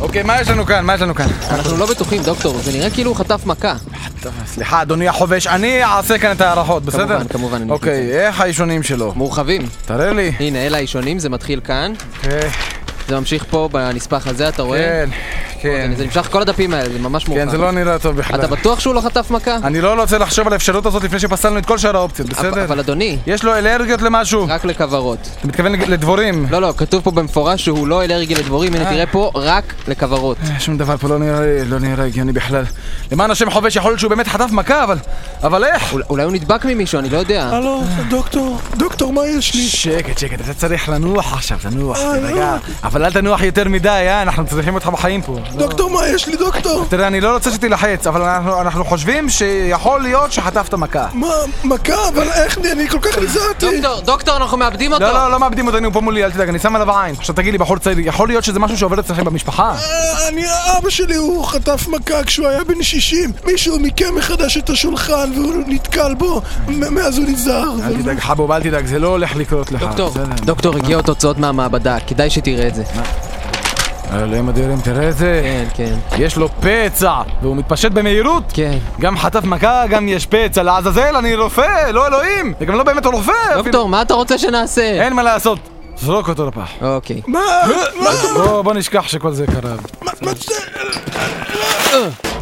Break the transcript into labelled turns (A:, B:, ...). A: אוקיי, מה יש לנו כאן? מה יש לנו כאן?
B: אנחנו לא בטוחים, דוקטור, זה נראה כאילו הוא חטף מכה.
A: טוב, סליחה, אדוני החובש, אני אעשה כאן את ההערכות, בסדר?
B: כמובן, כמובן, אני
A: אוקיי, איך האישונים שלו?
B: מורחבים.
A: תראה לי.
B: הנה, אלה האישונים, זה מתחיל כאן,
A: אוקיי,
B: זה ממשיך פה בנספח הזה, אתה רואה?
A: כן, כן.
B: אוקיי, זה- זה נמשך כל הדפים האלה, זה ממש מורחב.
A: כן, זה לא נראה טוב בכלל.
B: אתה בטוח שהוא לא חטף מכה?
A: אני לא רוצה לחשוב על האפשרות הזאת לפני שפסלנו את כל שאר האופציות,
B: אבל-
A: בסדר?
B: אבל אדוני,
A: יש לו אלרגיות למשהו?
B: רק לכוורות.
A: אתה מתכוון לג- לדבורים?
B: לא, לא, כתוב פה במפורש שהוא לא אלרגי לדבורים,
A: אה.
B: הנה תראה פה, רק לכוורות.
A: שום דבר פה לא נראה לא נראה הגיוני בכלל. למען השם חובש, יכול להיות שהוא באמת חטף מכה, אבל... אבל איך?
B: אול- אולי הוא נדבק ממישהו, אני לא יודע.
C: הלו, דוקטור, דוקטור, מה יש לי?
A: שקט, שקט, אתה צריך לנוח עכשיו, תנוח,
B: אה,
A: תירגע.
B: לא.
A: אבל אל תנוח יותר מדי, אה? אנחנו צריכים אותך בחיים פה.
C: דוקטור, מה יש לי, דוקטור?
A: תראה, אני לא רוצה שתילחץ, אבל אנחנו, אנחנו חושבים שיכול להיות שחטפת מכה.
C: מה, מכה? אבל איך אני, אני כל כך נזהרתי.
B: דוקטור, דוקטור, אנחנו מאבדים אותו!
A: לא, לא, לא מאבדים אותנו פה מולי, אל תדאג, אני שם עליו עין. עכשיו תגיד לי, בחור צעיר, יכול להיות שזה משהו שעובר אצלכם במשפחה?
C: אה, אני, אבא שלי הוא חטף מכה כשהוא היה בן 60. מישהו מיקם מחדש את השולחן והוא נתקל בו, מ- מאז הוא נזהר.
A: אל תדאג, חבוב, אל תדאג, זה לא הולך לקרות לך.
B: דוקטור,
A: בסדר.
B: דוקטור, הגיעו תוצאות מהמעבדה, כדאי שתראה את זה.
A: אלוהים אדירים, תראה את זה.
B: כן, כן,
A: יש לו פצע, והוא מתפשט במהירות.
B: כן.
A: גם חטף מכה, גם יש פצע. לעזאזל, אני רופא, לא אלוהים. זה גם לא באמת רופא. אפילו.
B: דוקטור, מה אתה רוצה שנעשה?
A: אין מה לעשות. זרוק אותו לפח.
B: אוקיי.
C: מה? מה?
A: בוא, בוא נשכח שכל זה קרה.
C: מה- מה זה?